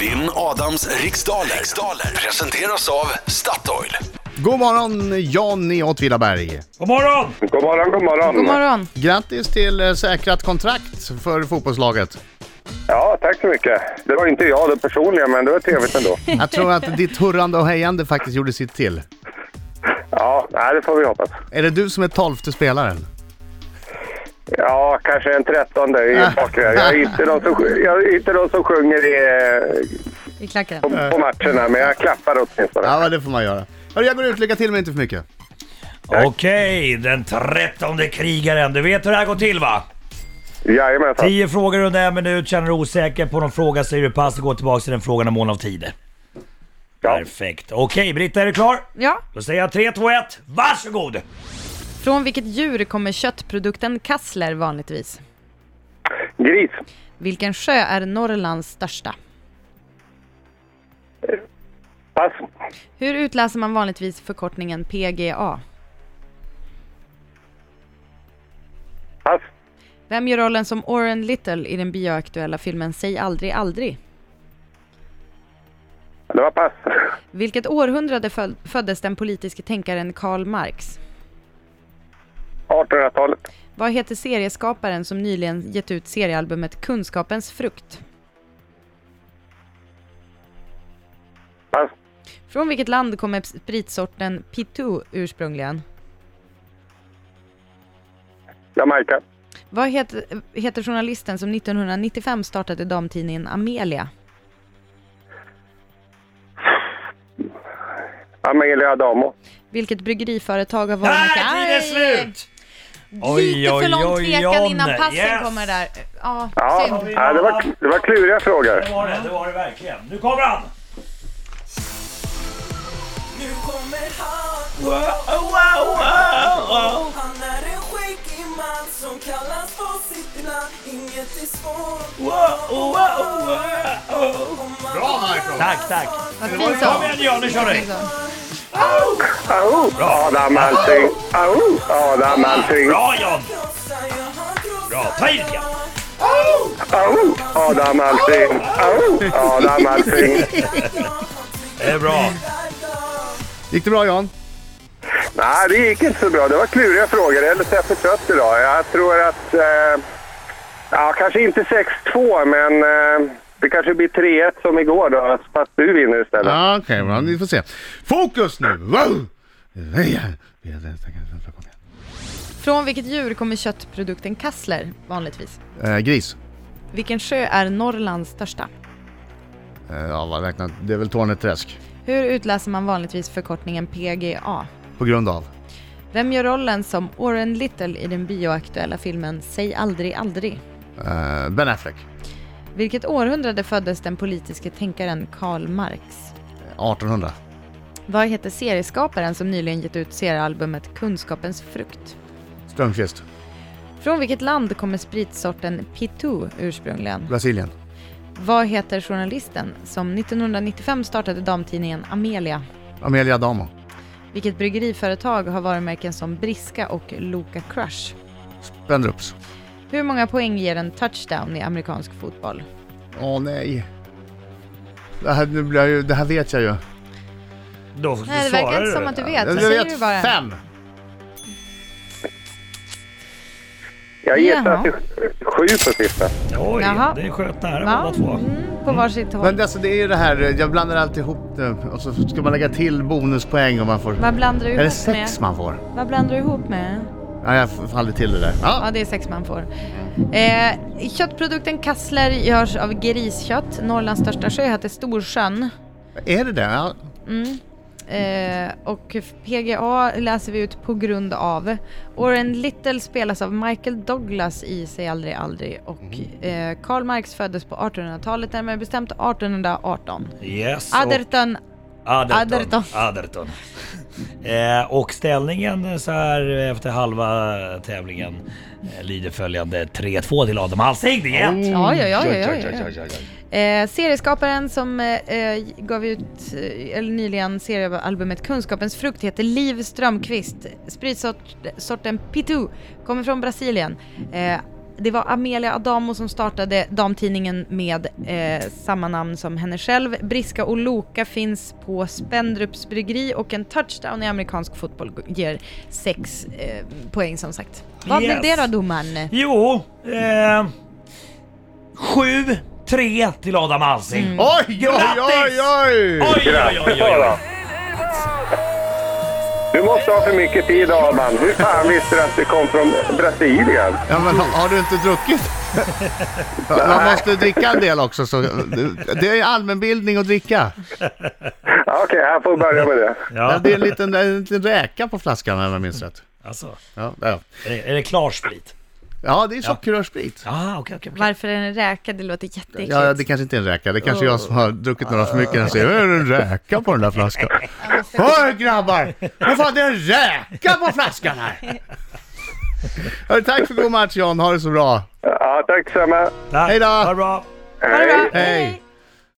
Vinn Adams riksdaler. riksdaler presenteras av Statoil. God morgon Johnny Åtvidaberg! God morgon! God morgon, god morgon. God morgon. Grattis till eh, säkrat kontrakt för fotbollslaget. Ja, tack så mycket. Det var inte jag det personliga, men det var trevligt ändå. Jag tror att ditt hurrande och hejande faktiskt gjorde sitt till. Ja, nej, det får vi hoppas. Är det du som är tolfte spelaren? Ja, kanske en trettonde i bakgrunden. Jag är inte de som, jag är inte de som sjunger i, eh, I klacken. på, på matcherna, men jag klappar åtminstone. Ja, men det får man göra. Hörru, jag går ut. Lycka till men inte för mycket. Okej, den trettonde krigaren. Du vet hur det här går till va? Jajamensan. Tio frågor under en minut, känner du osäker på någon fråga säger du pass och går tillbaka till den frågan om mån av tid. Ja. Perfekt. Okej, Britta är du klar? Ja. Då säger jag 3, 2, 1, varsågod! Från vilket djur kommer köttprodukten kassler vanligtvis? Gris. Vilken sjö är Norrlands största? Pass. Hur utläser man vanligtvis förkortningen PGA? Pass. Vem gör rollen som Oren Little i den bioaktuella filmen Säg aldrig aldrig? Det var pass. Vilket århundrade föl- föddes den politiske tänkaren Karl Marx? 1800-talet. Vad heter serieskaparen som nyligen gett ut seriealbumet Kunskapens frukt? Pass. Från vilket land kommer spritsorten Pitu ursprungligen? Jamaica. Vad heter, heter journalisten som 1995 startade damtidningen Amelia? Amelia Adamo. Vilket bryggeriföretag har varit... Där tiden är slut! Lite för lång tvekan innan Jonne. passen Yes. kommer där. Eh, Ja, Ja, synd. ja det, var, det var kluriga frågor. Det var det, det var det verkligen. Nu kommer han! Nu kommer han, Wow, wow, wow, wow. han är en skäggig man som kallas på sitt namn Inget är svårt Wow, wow, wow. om man Bra, Marco. Tack, tack. Vad fin Kom sång! igen Johan, nu kör vi! Au! Adam Alsing. Au! Adam Alsing. Bra John! krossar jag, han krossar Bra, ta i lite. jag Au! Adam Alsing. Au! Adam Alsing. Det är bra. Gick det bra Jan? Nej, det gick inte så bra. Det var kluriga frågor. Eller så är jag för trött idag. Jag tror att... Eh, ja, kanske inte 6-2, men eh, det kanske blir 3-1 som igår då. Fast du vinner istället. Ja, okej. bra. vi får se. Fokus nu! Wow! Ja. Från vilket djur kommer köttprodukten kassler vanligtvis? Eh, gris. Vilken sjö är Norrlands största? Eh, ja, vad räknat? Det är väl Tornet Träsk. Hur utläser man vanligtvis förkortningen PGA? På grund av. Vem gör rollen som Oren Little i den bioaktuella filmen Säg aldrig aldrig? Eh, ben Affleck. Vilket århundrade föddes den politiske tänkaren Karl Marx? Eh, 1800. Vad heter serieskaparen som nyligen gett ut seriealbumet Kunskapens frukt? Strömqvist. Från vilket land kommer spritsorten Pitu ursprungligen? Brasilien. Vad heter journalisten som 1995 startade damtidningen Amelia? Amelia Adamo. Vilket bryggeriföretag har varumärken som Briska och Loka Crush? Spendrups. Hur många poäng ger en touchdown i amerikansk fotboll? Åh nej. Det här, nu blir jag ju, det här vet jag ju. Då svarar Nej, det verkar inte som att du vet. jag Så säger vet du bara. fem! Jag gissar Jaha. till sju på sista. Oj, Jaha. det sköt nära Va? båda två. Mm, på varsitt håll. Men alltså det är ju det här, jag blandar alltid ihop det och så ska man lägga till bonuspoäng om man får... Vad blandar du Är det ihop med? sex man får? Vad blandar du ihop med? Ja, jag f- får aldrig till det där. Ja, Ja, det är sex man får. Eh, köttprodukten kassler görs av griskött. Norrlands största sjö heter Storsjön. är det det? Ja. Eh, och PGA läser vi ut på grund av. Oren Little spelas av Michael Douglas i Säg aldrig aldrig och eh, Karl Marx föddes på 1800-talet, närmare bestämt 1818. Yes, och- Atherton, Aderton. Aderton. Aderton. eh, och ställningen så här eh, efter halva tävlingen eh, lyder följande 3-2 till Adam Alsing. Det är Oh. jämnt! ja, ja, ja, ja, ja, ja, Eh, serieskaparen som eh, eh, gav ut eh, eller nyligen seriealbumet Kunskapens frukt heter Liv Strömqvist. Spritsorten Pitu kommer från Brasilien. Eh, det var Amelia Adamo som startade damtidningen med eh, samma namn som henne själv. Briska och Loka finns på Spendrups bryggeri och en touchdown i amerikansk fotboll ger sex eh, poäng som sagt. Vad Yes. blev det då domaren? Jo, eh, 7-3 till Adam Alsing. Mm. Oj, oj, oj, oj! Oj, oj, oj, oj, oj. Du måste ha för mycket tid, Adam. Hur fan visste du att det kom från Brasilien? Ja, men har, har du inte druckit? Man måste dricka en del också. Så det är allmänbildning att dricka. Ja, Okej, jag får börja med det. Ja, Ja, Det är en liten, en liten räka på flaskan om jag minns rätt. alltså, Ja, ja. är det, är det klar sprit? ja det är sockerrörsprit. Ah, okej, okej. okej. Varför är den räka? Det låter jätteäckligt. Ja, det kanske inte är en räka. Det är kanske är jag som har druckit några för mycket. när Jag säger, är det en räka på den där flaskan? Hör grabbar! Vad fan, det är en räka på flaskan här! Hörru, tack för god match John, ha det så bra! Ja, tack detsamma. Tack. Hej då. Ha det bra. Ha det bra. Hej.